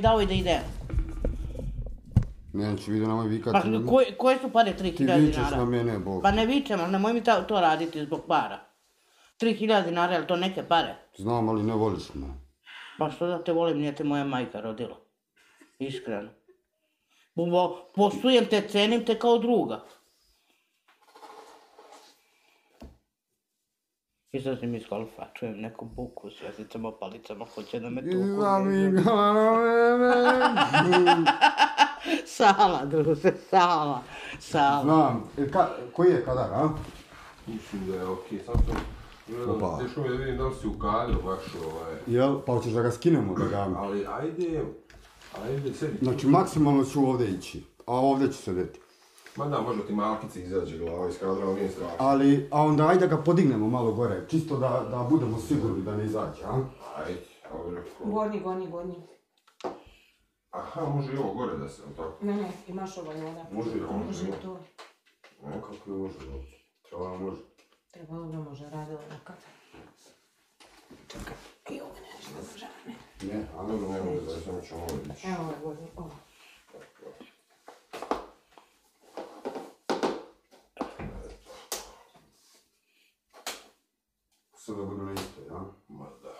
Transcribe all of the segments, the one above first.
dao i da ide. Neću vidio nemoj vikati. Pa koje, koje su pare 3000 Ti dinara? vičeš na mene, Bog. Pa ne vičem, ali nemoj mi ta, to raditi zbog para. 3000 dinara, je li to neke pare? Znam, ali ne voliš me. Pa što da te volim, nije te moja majka rodila. Iskreno. Bubo, poštujem te, cenim te kao druga. Izlazim iz golfa, čujem neku buku s vezicama, palicama, hoće da me tuku. Znam i na mene. Sala, druže, sala, sala. Znam. E, ka, koji je kadar, a? Mislim da je okej, samo sam gledam, Opa. teško mi je da vidim da li si ukalio baš ovaj, Jel, pa hoćeš da ga skinemo, da ga... ali ajde, ajde, sedi. Znači, maksimalno ću ovdje ići, a ovdje ću sedeti. Ma da, možda ti malkice izađe glava iz kadra, ali nije strašno. Ali, a onda ajde da ga podignemo malo gore, čisto da, da budemo sigurni da ne izađe, a? Ajde, dobro. Gornji, gornji, gornji. Aha, može i ovo gore da se, jel tako? Ne, ne, imaš ovaj voda. Može, ja, može, Može ja. i to. O, kako je može, ovo. Treba nam može. Trebalo da može radila nekad. Čekaj, i ovo nešto može raditi. Ne, a? Dobro, ne može, da samo ćemo ovo ići. Evo ovaj gornji, ovo. Sve da budu na istoj, a? Ma da.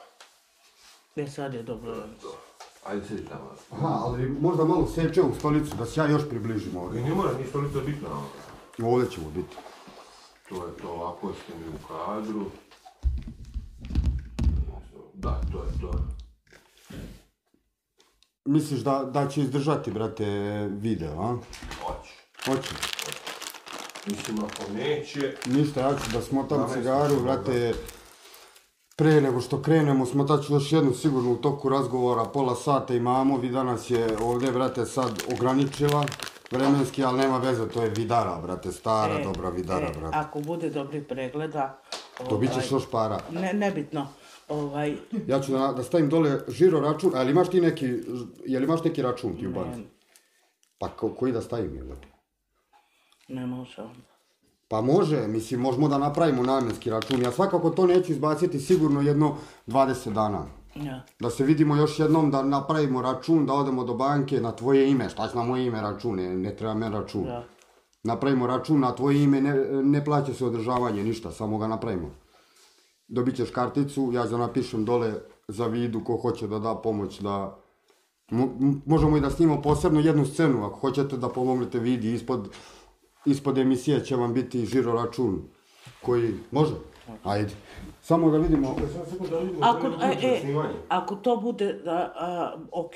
Ne, sad je dobro. Ajde, sedi tamo. Aha, ali možda malo seče u stolicu, da se ja još približim I ovdje. ne mora, nije toliko bitno, ali. Ovdje ćemo biti. To je to, ovako ste mi u kadru. Da, to je to. Misliš da, da će izdržati, brate, video, a? Hoće. Hoće. Mislim, ako neće, Ništa, ja ću da smotam Dvanaest cigaru, minuta. brate, pre nego što krenemo, smotat ću još jednu sigurno u toku razgovora, pola sata imamo, vi danas je ovdje, brate, sad ograničila vremenski, ali nema veze, to je vidara, brate, stara, dobra vidara, e, brate. Ako bude dobri pregleda... Dobit ćeš ovaj, još para. Ne, nebitno. Ovaj, Ja ću da, da stavim dole žiro račun, ali imaš ti neki, jel imaš neki račun ti u banci? Pa ko, koji da stavim, jel? ne može on. Pa može, mislim, možemo da napravimo namjenski račun. Ja svakako to neću izbaciti sigurno jedno 20 dana. Ja. Da se vidimo još jednom, da napravimo račun, da odemo do banke na tvoje ime. Šta će na moje ime račun, ne, ne treba me račun. Da. Napravimo račun na tvoje ime, ne, ne plaća se održavanje, ništa, samo ga napravimo. Dobit ćeš karticu, ja ću napišem dole za vidu ko hoće da da pomoć da... Mo- m- Možemo i da snimamo posebno jednu scenu, ako hoćete da pomognete vidi, ispod, ispod emisije će vam biti žiro račun koji... Može? Ajde. Samo da vidimo... sad samo da vidimo Ako, da e, li e, e, snimanje. ako to bude, a, a, ok,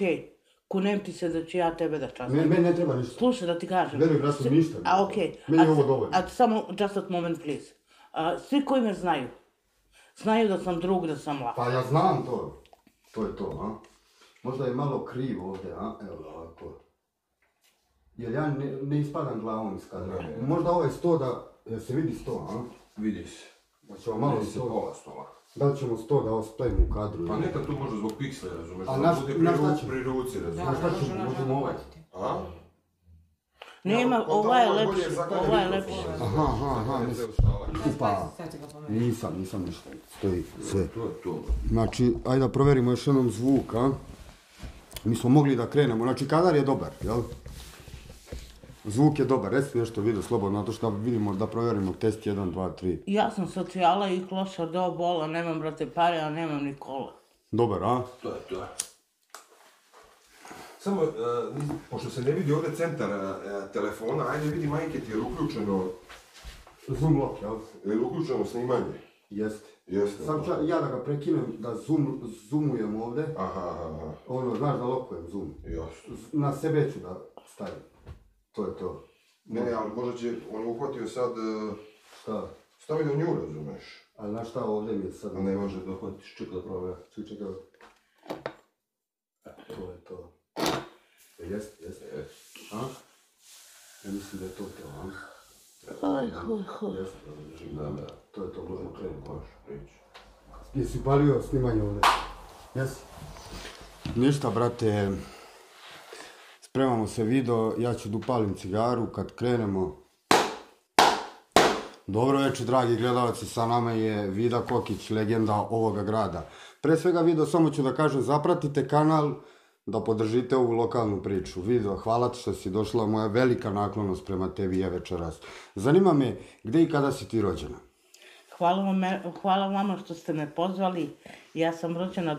kunem ti se da ću ja tebe da častim. Ne, meni ne treba ništa. Slušaj da ti kažem. Veruj, brate, ništa. A okej. Meni je a- ovo dovoljno. A samo, just a moment, please. A, svi koji me znaju, znaju da sam drug, da sam lak. Pa ja znam to. To je to, a? Možda je malo kriv ovdje, a? Evo ovako. Jer ja ne, ne ispadam glavom iz kadra. Možda ovo je sto da jel se vidi sto, a? Vidi se. Da ćemo malo Vidi se sto. pola stola. Da li ćemo sto da ostavimo u kadru. Pa ili? nekad to može zbog piksela, razumeš? A A naš- naš, bude pri, naš šta ru, će? pri ruci, A razumeš? šta ćemo, može možemo nažalost ovaj? uhvatiti. A? Nema, Ja, pa ova je dobro, bolje lepši, zaklanja ova je mikrofon. lepši. Aha, aha, aha, Ne mislim. znam šta ovaj. Upa. Sad ću ga pomenuti. Nisam, nisam ništa. Stoji sve. To je to. Znači, ajde da proverimo još jednom zvuk, a? Mi smo mogli da krenemo. Znači, kadar je dobar, jel? Zvuk je dobar. Reci nešto video slobodno, zato što vidimo da proverimo test 1, 2, 3. Ja sam socijala i kloša do bola, nemam brate pare, a nemam ni kola. Dobar, a? To je to. Samo, uh, pošto se ne vidi ovdje centar uh, telefona, ajde vidi majke ti je li uključeno, Zoom lock, jel? je li uključeno snimanje? Jeste. Jeste. Sam ča, ja da ga prekinem, da zoom, zoomujem ovde. Aha, aha, aha. Ono, znaš da lokujem zoom. Jasno. Z- Na sebe ću da stavim. To je to. Ne, ne, ali možda će, on je uhvatio sad, uh, Šta? stavi na nju, razumeš? Ali znaš šta ovde mi je sad? Ne može da uhvatiš, čekaj da probaj. Ču, čekaj. E, To je to. E, Jeste, jeste. A? Ja mislim da je to to, a? Aj, hoj, hoj. Jeste, dobro, držim. Da, da. To je to, možemo krenuti. Možeš prići. Jesi upalio snimanje ovdje? Jesi? Ništa, brate. Spremamo se video, ja ću da upalim cigaru kad krenemo. Dobro večer, dragi gledalci, sa nama je Vida Kokić, legenda ovoga grada. Pre svega video, samo ću da kažem, zapratite kanal da podržite ovu lokalnu priču. Vido, hvala ti što si došla, moja velika naklonost prema tebi je večeras. Zanima me, gde i kada si ti rođena? Hvala, vam, e, hvala vama što ste me pozvali. Ja sam rođena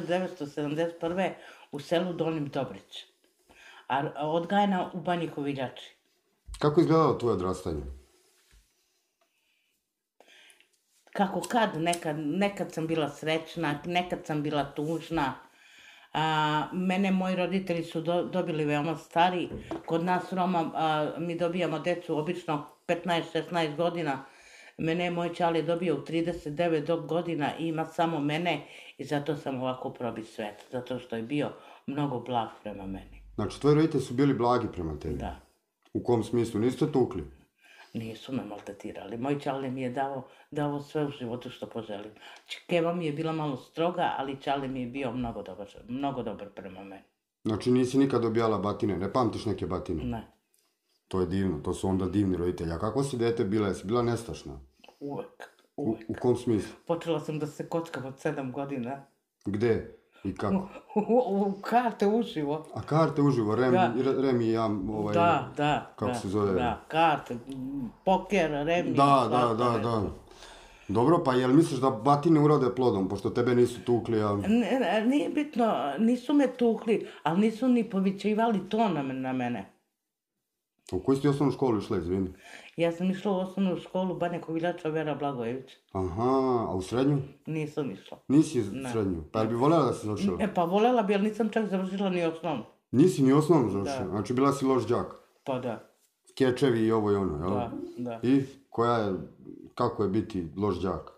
27.6.1971. u selu Donim Dobrić. A odgajena u Banji Koviljači. Kako je izgledalo tvoje odrastanje? Kako kad, nekad, nekad sam bila srećna, nekad sam bila tužna. A, mene moji roditelji su do, dobili veoma stari. Kod nas Roma a, mi dobijamo decu obično 15-16 godina. Mene je moj čale dobio u 39 do- godina i ima samo mene i zato sam ovako probi svet. Zato što je bio mnogo blag prema meni. Znači, tvoji roditelji su bili blagi prema tebi. Da. U kom smislu? Niste tukli? Nisu me maltretirali. Moj čale mi je dao, dao sve u životu što poželim. Znači, Keva mi je bila malo stroga, ali čale mi je bio mnogo dobar, mnogo dobar prema meni. Znači, nisi nikad dobijala batine, ne pamtiš neke batine? Ne, To je divno, to su onda divni roditelji. A kako si dete bila? Jesi bila nestašna? uvek, U, uvek. u kom smislu? Počela sam da se kockam od sedam godina. Gde i kako? U, u karte uživo. A karte uživo, Rem, Da. re- Rem i ja, ovaj... Da, da. kako da, se zove? Da, karte, mm, poker, remi. Da, da, svašta da, nešto. da. Dobro, pa jel misliš da batine urode plodom, pošto tebe nisu tukli, a... Ne, ne, Nije bitno, nisu me tukli, ali nisu ni povićivali to na, na mene. U koju si ti osnovnu školu išla, izvini? Ja sam išla u osnovnu školu Banja Koviljača Vera Blagojević. Aha, a u srednju? Nisam išla. Nisi srednju. Pa jel bi voljela da si završila? E pa volela bi, ali nisam čak završila ni osnovnu. Nisi ni osnovnu završila, znači bila si loš đak. Pa da, Skečevi i ovo i ono, jel? da, da. I koja je, kako je biti loš đak?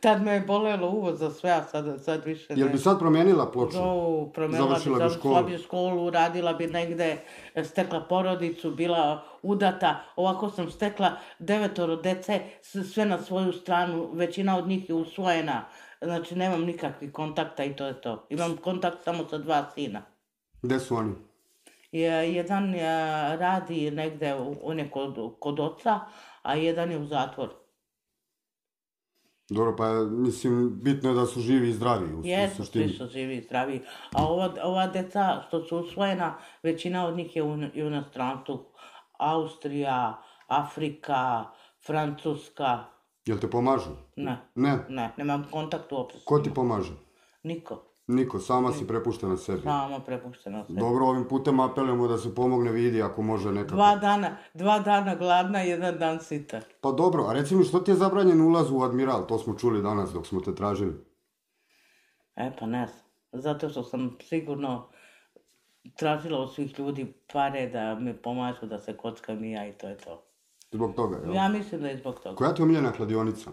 Tad me je bolelo uvo za sve, a sad, sad više ne. Jel bi sad promijenila ploču? To, promenila Završila bi bi, završila školu. bi školu, radila bi negde, e, stekla porodicu, bila udata. Ovako sam stekla devetoro dece, s- sve na svoju stranu, većina od njih je usvojena. Znači, nemam nikakvih kontakta i to je to. Imam kontakt samo sa dva sina. Gde su oni? Je- Jedan e, radi negde, u- on je kod, kod oca, a jedan je u zatvoru. Dobro, pa mislim, bitno je da su živi i zdravi u, u Jesu, svi suštini. su živi i zdravi. A ova, ova deca što su usvojena, većina od njih je u, i u inostranstvu. Austrija, Afrika, Francuska. Jel te pomažu? Ne, Ne. ne, nemam kontakt uopće. Ko ti pomaže? Niko. Niko, sama si prepuštena sebi. Sama prepuštena se. Dobro, ovim putem apelujemo da se pomogne vidi ako može nekako. Dva dana, dva dana gladna, jedan dan sita. Pa dobro, a reci mi što ti je zabranjen ulaz u Admiral? To smo čuli danas dok smo te tražili. E pa ne znam. Zato što sam sigurno tražila od svih ljudi pare da me pomažu da se kockam i ja i to je to. Zbog toga, jel? Ja mislim da je zbog toga. Koja ti je omiljena kladionica?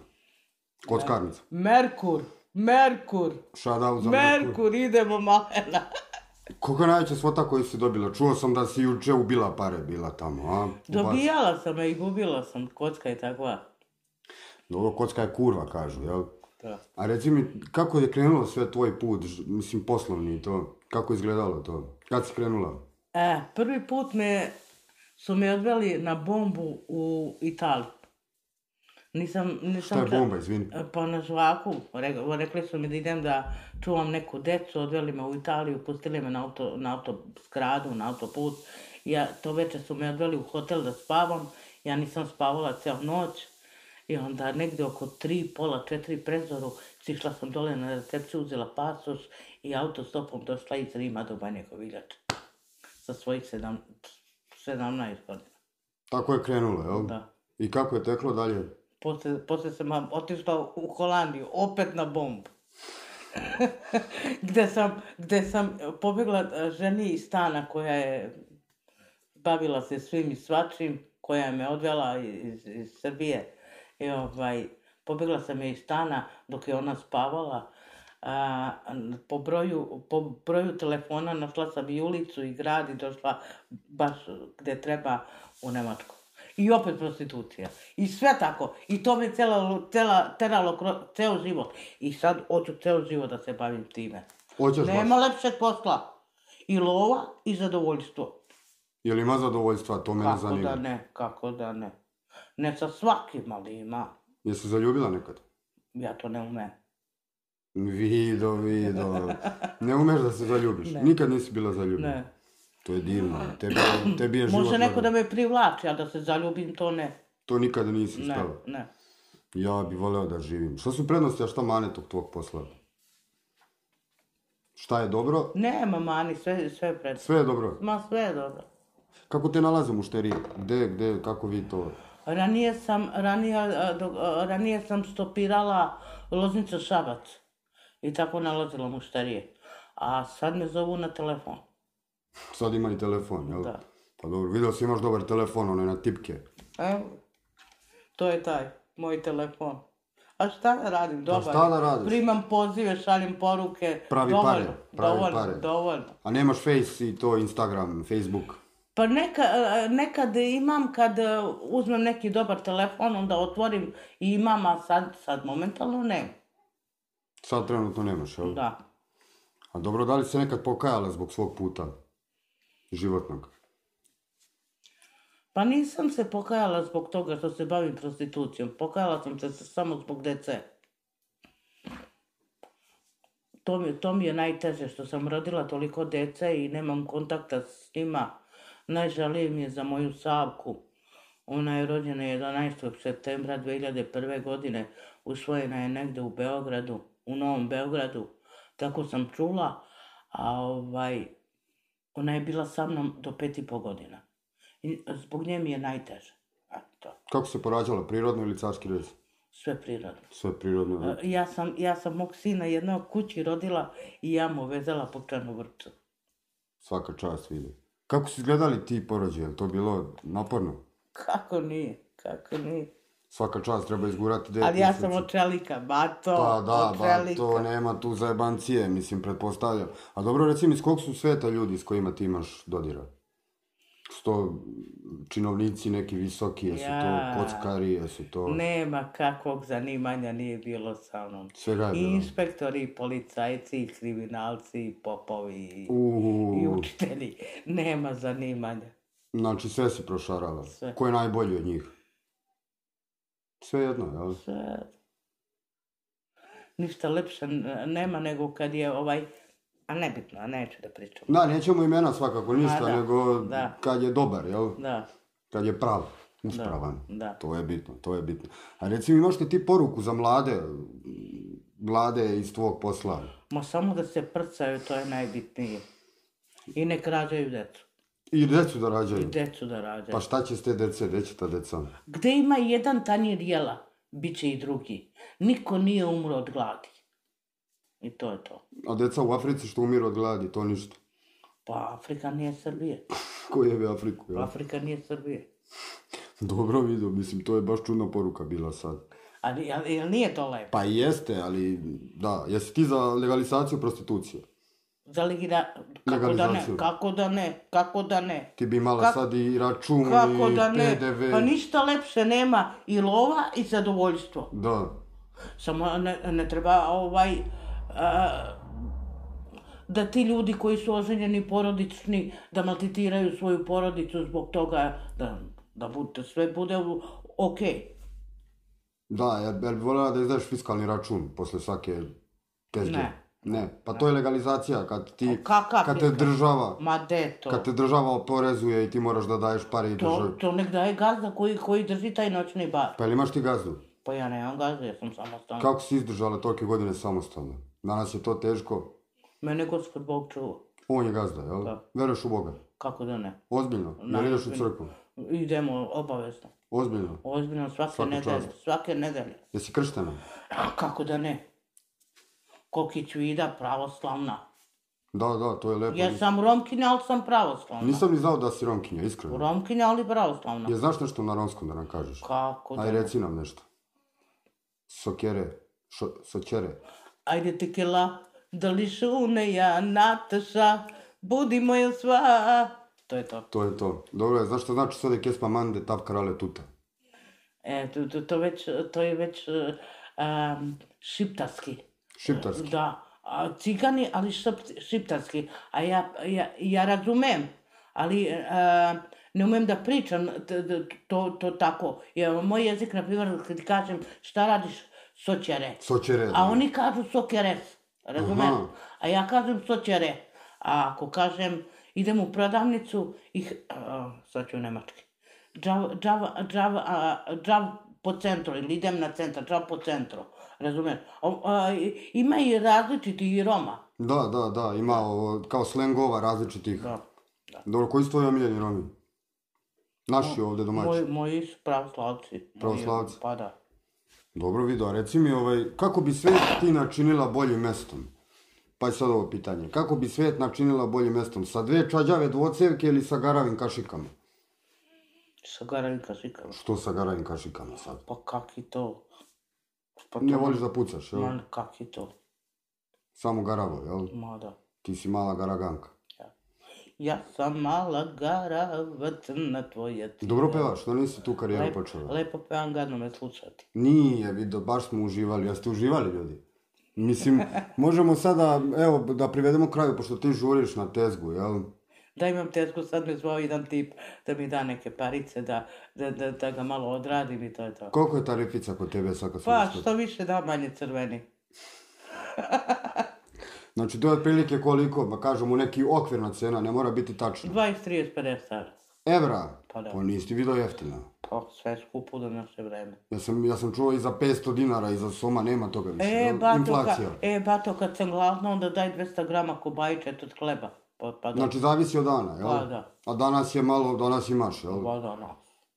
Kockarnica. Merkur, Merkur. Shout out za Merkur. Merkur, idemo malena. Koliko je najveća svota koju si dobila? Čuo sam da si juče ubila pare bila tamo, a? Ubaci. Dobijala sam je i gubila sam, kocka je takva. Dobro, kocka je kurva, kažu, jel? Da. A reci mi, kako je krenulo sve tvoj put, ž- mislim, poslovni i to? Kako je izgledalo to? Kad si krenula? E, prvi put me, su me odveli na bombu u Italiju. Nisam, Šta nisam... je bomba, izvini? E, Pa na žvaku, Re- rekli su mi da idem da čuvam neku decu, odveli me u Italiju, pustili me na auto, na auto skradu, na autoput. Ja, to večer su me odveli u hotel da spavam, ja nisam spavala ceo noć. I onda negde oko tri, pola, četiri prezoru, sišla sam dole na recepciju, uzela pasoš i autostopom došla iz Rima do Banje Koviljača. Sa svojih sedam, 17 godina. Tako je krenulo, jel? Da. I kako je teklo dalje? Posle, posle sam vam otišla u Holandiju, opet na bombu. gde, sam, gde sam pobjegla e, ženi iz stana koja je bavila se svim i svačim, koja je me odvela iz, iz Srbije. I ovaj, pobjegla sam je iz stana dok je ona spavala. A, n- po, broju, po broju telefona našla sam i ulicu i grad i došla baš gde treba u Nemačku. I opet prostitucija. I sve tako. I to me cela, cela, teralo kro, ceo život. I sad hoću ceo život da se bavim time. Hoćeš baš? Nema lepšeg posla. I lova i zadovoljstvo. Je li ima zadovoljstva? To mene Kako zanima. da ne, kako da ne. Ne sa svakim, ali ima. Jesi zaljubila nekad? Ja to ne umem. Vido, vido. Ne umeš da se zaljubiš. Ne. Nikad nisi bila zaljubljena. Ne. To je divno. Tebi, tebi je život. Može neko da nagrada. me privlači, ali da se zaljubim, to ne. To nikada nisi Ne, uspela. ne. Ja bi voleo da živim. Šta su prednosti, a šta mane tog tvog posla? Šta je dobro? Nema mani, sve, sve pred... Sve je dobro. Ma sve je dobro. Kako te nalaze mušterije? Gde, gde, kako vi to? Ranije sam, ranije, a, dok- a, ranije sam stopirala Loznica Šabac i tako nalazila mušterije. A sad me zovu na telefon. Sad ima i telefon, jel? Da. Pa dobro, vidio si imaš dobar telefon, one na tipke. Evo, to je taj, moj telefon. A šta da radim, dobar. Pa šta da radiš? Primam pozive, šaljem poruke. Pravi dovoljno, pare, pravi dovoljno, pare. dovoljno. A nemaš face i to Instagram, Facebook. Pa neka, e, nekad imam kad e, uzmem neki dobar telefon, onda otvorim i imam, a sad, sad momentalno nemam. Sad trenutno nemaš, jel? Da. A dobro, da li se nekad pokajala zbog svog puta životnog? Pa nisam se pokajala zbog toga što se bavim prostitucijom. Pokajala sam se samo zbog dece. To mi, to mi je najteže što sam rodila toliko dece i nemam kontakta s njima. Najžalije mi je za moju Savku. Ona je rođena 11. septembra 2001. godine. Usvojena je negde u Beogradu, u Novom Beogradu. Tako sam čula. A ovaj, ona je bila sa mnom do pet i po godina. I zbog nje mi je najteže. A to, Kako se porađala, prirodno ili carski rez? sve prirodno. Sve prirodno. E, Ja sam, ja sam mog sina jednog kući rodila i ja mu vezala pupčanu vrpcu. Svaka čast vidi. Kako su izgledali ti porođaje? Je li to bilo naporno? Kako nije, kako nije. Svaka čast treba izgurati dete. Ali ja mislim, sam od čelika, bato, Pa da, od ba, čelika. to nema tu zajebancije, mislim, pretpostavljam. A dobro, recimo, iz kog su sveta ljudi s kojima ti imaš dodira? Sto činovnici neki visoki, jesu Ja. to kockari, jesu to... Nema kakvog zanimanja nije bilo sa mnom. Svega je I bilo. inspektori, i policajci, i kriminalci, i popovi, i, Uuu. i učitelji. Nema zanimanja. Znači, sve si prošarala. Sve. Ko je najbolji od njih? Sve jedno, jel? sve. Ništa lepše n- nema nego kad je ovaj, a nebitno, a neću da pričam. Da, nećemo imena svakako, ništa, da, nego da. kad je dobar, jel? Da, Kad je prav, uspravan. da. To je bitno, to je bitno. A recimo, imaš li ti poruku za mlade, m, mlade iz tvog posla? ma samo da se prcaju, to je najbitnije. I nek rađaju decu. I decu da I rađaju. decu da rađaju. Pa šta će s te dece, gde će ta deca? Gde ima jedan tanjir jela, bit će i drugi. Niko nije umro od gladi. I to je to. A deca u Africi što umiru od gladi, to ništa. Pa Afrika nije Srbije. Ko je Afriku, jel? Afrika nije Srbije. Dobro vidio, mislim, to je baš čudna poruka bila sad. Ali, ali jel nije to lepo? Pa jeste, ali da, jesi ti za legalizaciju prostitucije? Za legida... Kako da ne? Legalizaciju. Kako da ne? Kako da ne? Ti bi imala Kak- sad i račun Kako i da ne? PDV. Pa ništa lepše nema i lova i zadovoljstvo. Da, Samo ne, ne treba ovaj... A, da ti ljudi koji su oženjeni porodični, da maltretiraju svoju porodicu zbog toga da, da bude, sve bude u- okej. da, jer, jer bi voljela da izdaš fiskalni račun posle svake tezge. Ne. Ne, pa to je legalizacija kad ti, A kakav kad te fiskal- država, Ma de to. kad te država oporezuje i ti moraš da daješ pare i To, državi. to nek daje gazda koji, koji drži taj noćni bar. Pa jel imaš ti gazdu? Pa ja nemam gazda, ja sam samostalna. Kako si izdržala tolike godine samostalno? Danas je to teško. Mene gospod Bog čuva. On je gazda, jel? Da. Veruješ u Boga? Kako da ne? Ozbiljno? Ne, Jer ideš u ozbiljno. crkvu? Idemo obavezno. Ozbiljno? Ozbiljno svake Svaka nedelje. čast. Svake nedelje. Jesi krštena? A kako da ne? Kokić vida pravoslavna. Da, da, to je lepo. Ja sam romkinja, ali sam pravoslavna. Nisam ni znao da si Romkinja, iskreno. Romkinja, ali pravoslavna. Je znaš nešto na romskom da nam kažeš? Kako da Aj, ne? reci nam nešto. Sokere, šo, sočere. Ajde tekila, da li šuneja, Nataša, budi moja sva. To je to. To je to. Dobro je, znaš što znači sode kespa mande tav krale tuta? E, to, to, to, već, to je već uh, um, šiptarski. Šiptarski. Da, a, cigani, ali šip- šiptarski. A ja, ja, ja razumem, ali a, ne umem da pričam t- t- to, to tako. Jer moj jezik, na primjer, kad kažem šta radiš, soćere. Soćere, A da. oni kažu sokeres, razumeš? Aha. A ja kažem soćere. A ako kažem idem u prodavnicu i uh, sad ću nemački. Džav, džav, džav, a, džav po centru ili idem na centar, džav po centru. Razumeš? O, a, i- ima i različiti i Roma. Da, da, da, ima ovo, kao slengova različitih. Da. Dobro, koji su tvoji omiljeni Romi? Naši ovdje domaći. Moji, moji su pravoslavci. Moji- Znači? Pravoslavci. Pa da. Dobro, Vido, a reci mi, ovaj, kako bi svet ti načinila boljim mestom? Pa je sad ovo pitanje. Kako bi svet načinila boljim mestom? Sa dve čađave dvocevke ili sa garavim kašikama? Sa garavim kašikama. Što sa garavim kašikama sad? Pa kak je to? Pa Ne to- voliš da pucaš, jel? Ma, kak je to? Samo garavo, jel? Ma da. Ti si mala garaganka. Ja sam mala garava crna tvoja ti. Dobro pevaš, što nisi tu karijeru Lepo, počela? lepo pevam, gadno me slušati. Nije, Vido, baš smo uživali. Jeste uživali, ljudi? Mislim, možemo sada, evo, da privedemo kraju, pošto ti žuriš na tezgu, jel? Da imam tezgu, sad me zvao jedan tip da mi da neke parice, da, da, da, da ga malo odradim i to je to. Koliko je ta ripica kod tebe sad kad smo Pa, uspeli? što više da, manje crveni. Znači, to je otprilike koliko, pa kažemo, neki okvirna cena, ne mora biti tačna. 20, 30, 50 evra. Evra? Pa da. Pa nisi ti video jeftina. Pa, sve je skupo do naše vreme. Ja sam, ja sam čuo i za 500 dinara, i za soma, nema toga više. E, jel? bato, ka, Inflacija. e, bato, kad sam gladna, onda daj 200 grama kobajčet od hleba. Pa, pa da, Znači, zavisi od dana, jel? Pa da. A danas je malo, danas imaš, jel? pa da, no.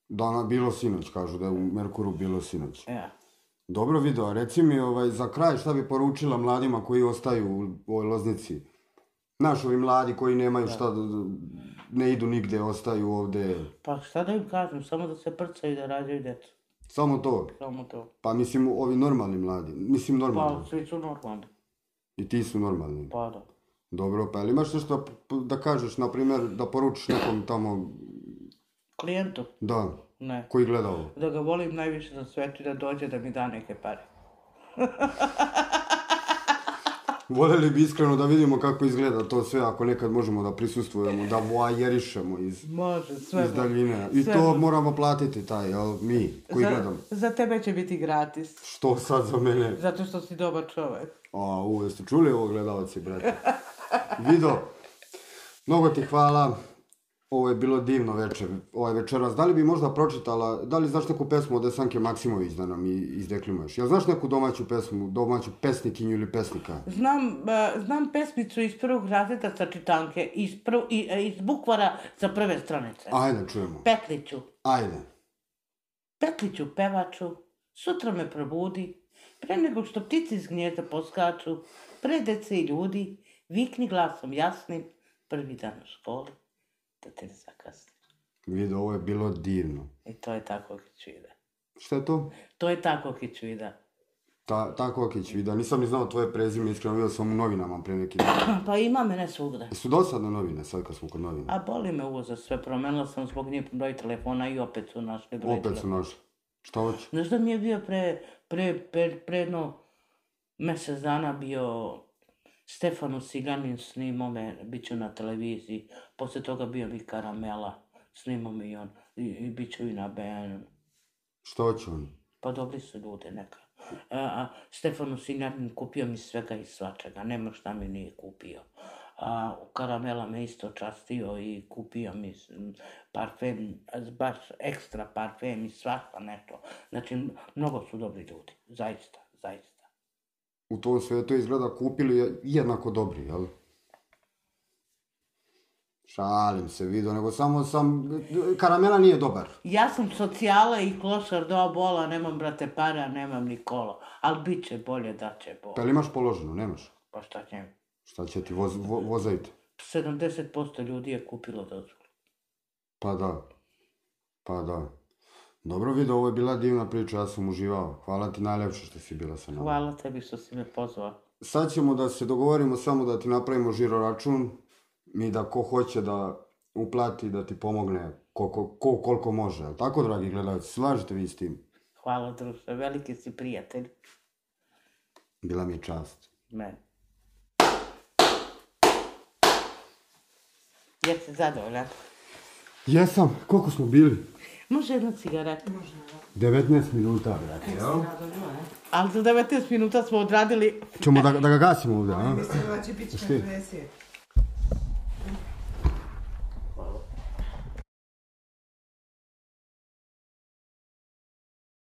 Dana, bilo sinoć, kažu da je u Merkuru bilo sinoć. E, Dobro video, a reci mi ovaj, za kraj šta bi poručila mladima koji ostaju u ovoj loznici? Znaš, ovi mladi koji nemaju šta, da, da- ne idu nigde, ostaju ovde. pa šta da im kažem, samo da se prcaju i da rađaju djecu. Samo to. Samo to. Pa mislim, ovi normalni mladi. Mislim, Pa, normalni. svi su normalni. I ti su normalni. Pa da. Dobro, pa jel imaš nešto da p- da kažeš, na primjer, da poručiš nekom tamo, Klijentu? da, Ne. koji gleda ovo? Da ga volim najviše na svetu i da dođe da mi da neke pare. Voljeli bi iskreno da vidimo kako izgleda to sve, ako nekad možemo da prisustvujemo, da voajerišemo iz, Može, sve iz može. daljine. I Sve to može. moramo platiti taj, jel, mi, koji Za, gledamo. za tebe će biti gratis. Što sad za mene? Zato što si dobar čovek. A, u, jeste čuli ovo gledalci, brate? Vido, mnogo ti hvala. Ovo je bilo divno večer, ovaj večeras. Da li bi možda pročitala, da li znaš neku pesmu od Esanke Maksimović da nam i- izdeklimo još? Jel znaš neku domaću pesmu, domaću pesnikinju ili pesnika? Znam, e, znam pesmicu iz prvog razreda sa čitanke, iz, prv, i- e, iz bukvara sa prve stranice. Ajde, čujemo. Petliću, Ajde. petliću pevaču, sutra me probudi, pre nego što ptici iz gnijezda poskaču, pre dece i ljudi, vikni glasom jasnim, prvi dan u školi, da te ne zakasnim. Vido, ovo je bilo divno. I to je tako kičuida. Šta je to? To je tako kičuida. Ta, ta Kokić, Vida, nisam ni znao tvoje prezime, iskreno vidio sam u novinama pre neki dan. Pa ima mene svugde. Su dosadne novine sad kad smo kod novina? A boli me uvo za sve, promenila sam zbog njih broj telefona i opet su našli broj Opet su telefona. našli. Šta hoće? Znaš da mi je bio pre, pre, pre, pre jedno mjesec dana bio Stefanu Siganin snimao me, bit ću na televiziji. Poslije toga bio mi Karamela, snimao mi i on. I, i bit ću i na BN. Šta hoće oni? Pa dobri su ljude neka. A, a Stefanu Sinarin kupio mi svega i svačega, nema šta mi nije kupio. A, karamela me isto častio i kupio mi s- m, parfem, a, baš ekstra parfem i svašta nešto. Znači, m- mnogo su dobri ljudi, zaista, zaista. u tom svetu izgleda kupili je- jednako dobri, jel? Šalim se, vidio, nego samo sam... Karamela nije dobar. Ja sam socijala i klošar do bola, nemam brate para, nemam ni kolo. Ali bit će bolje da će Pa bolje. jel imaš položenu, nemaš? Pa šta će mi? Šta će ti voz, vo, vozajte? 70% ljudi je kupilo dozvolu. Pa da. Pa da. Dobro vidio, ovo je bila divna priča, ja sam uživao. Hvala ti najljepše što si bila sa nama. Hvala tebi što si me pozvao. Sad ćemo da se dogovorimo samo da ti napravimo žiro račun i da ko hoće da uplati, da ti pomogne koliko, ko, koliko može. Jel tako, dragi gledalci? Slažete vi s tim? Hvala druže, veliki si prijatelj Bila mi je čast. meni. Jesi zadovoljan? Jesam, koliko smo bili? Može jedna cigareta. Može, da. 19 minuta, brate. Jel? Radovno, je. Ali za 19 minuta smo odradili Čemo da, da ga gasimo ovdje, a? Mislim da će biti 40.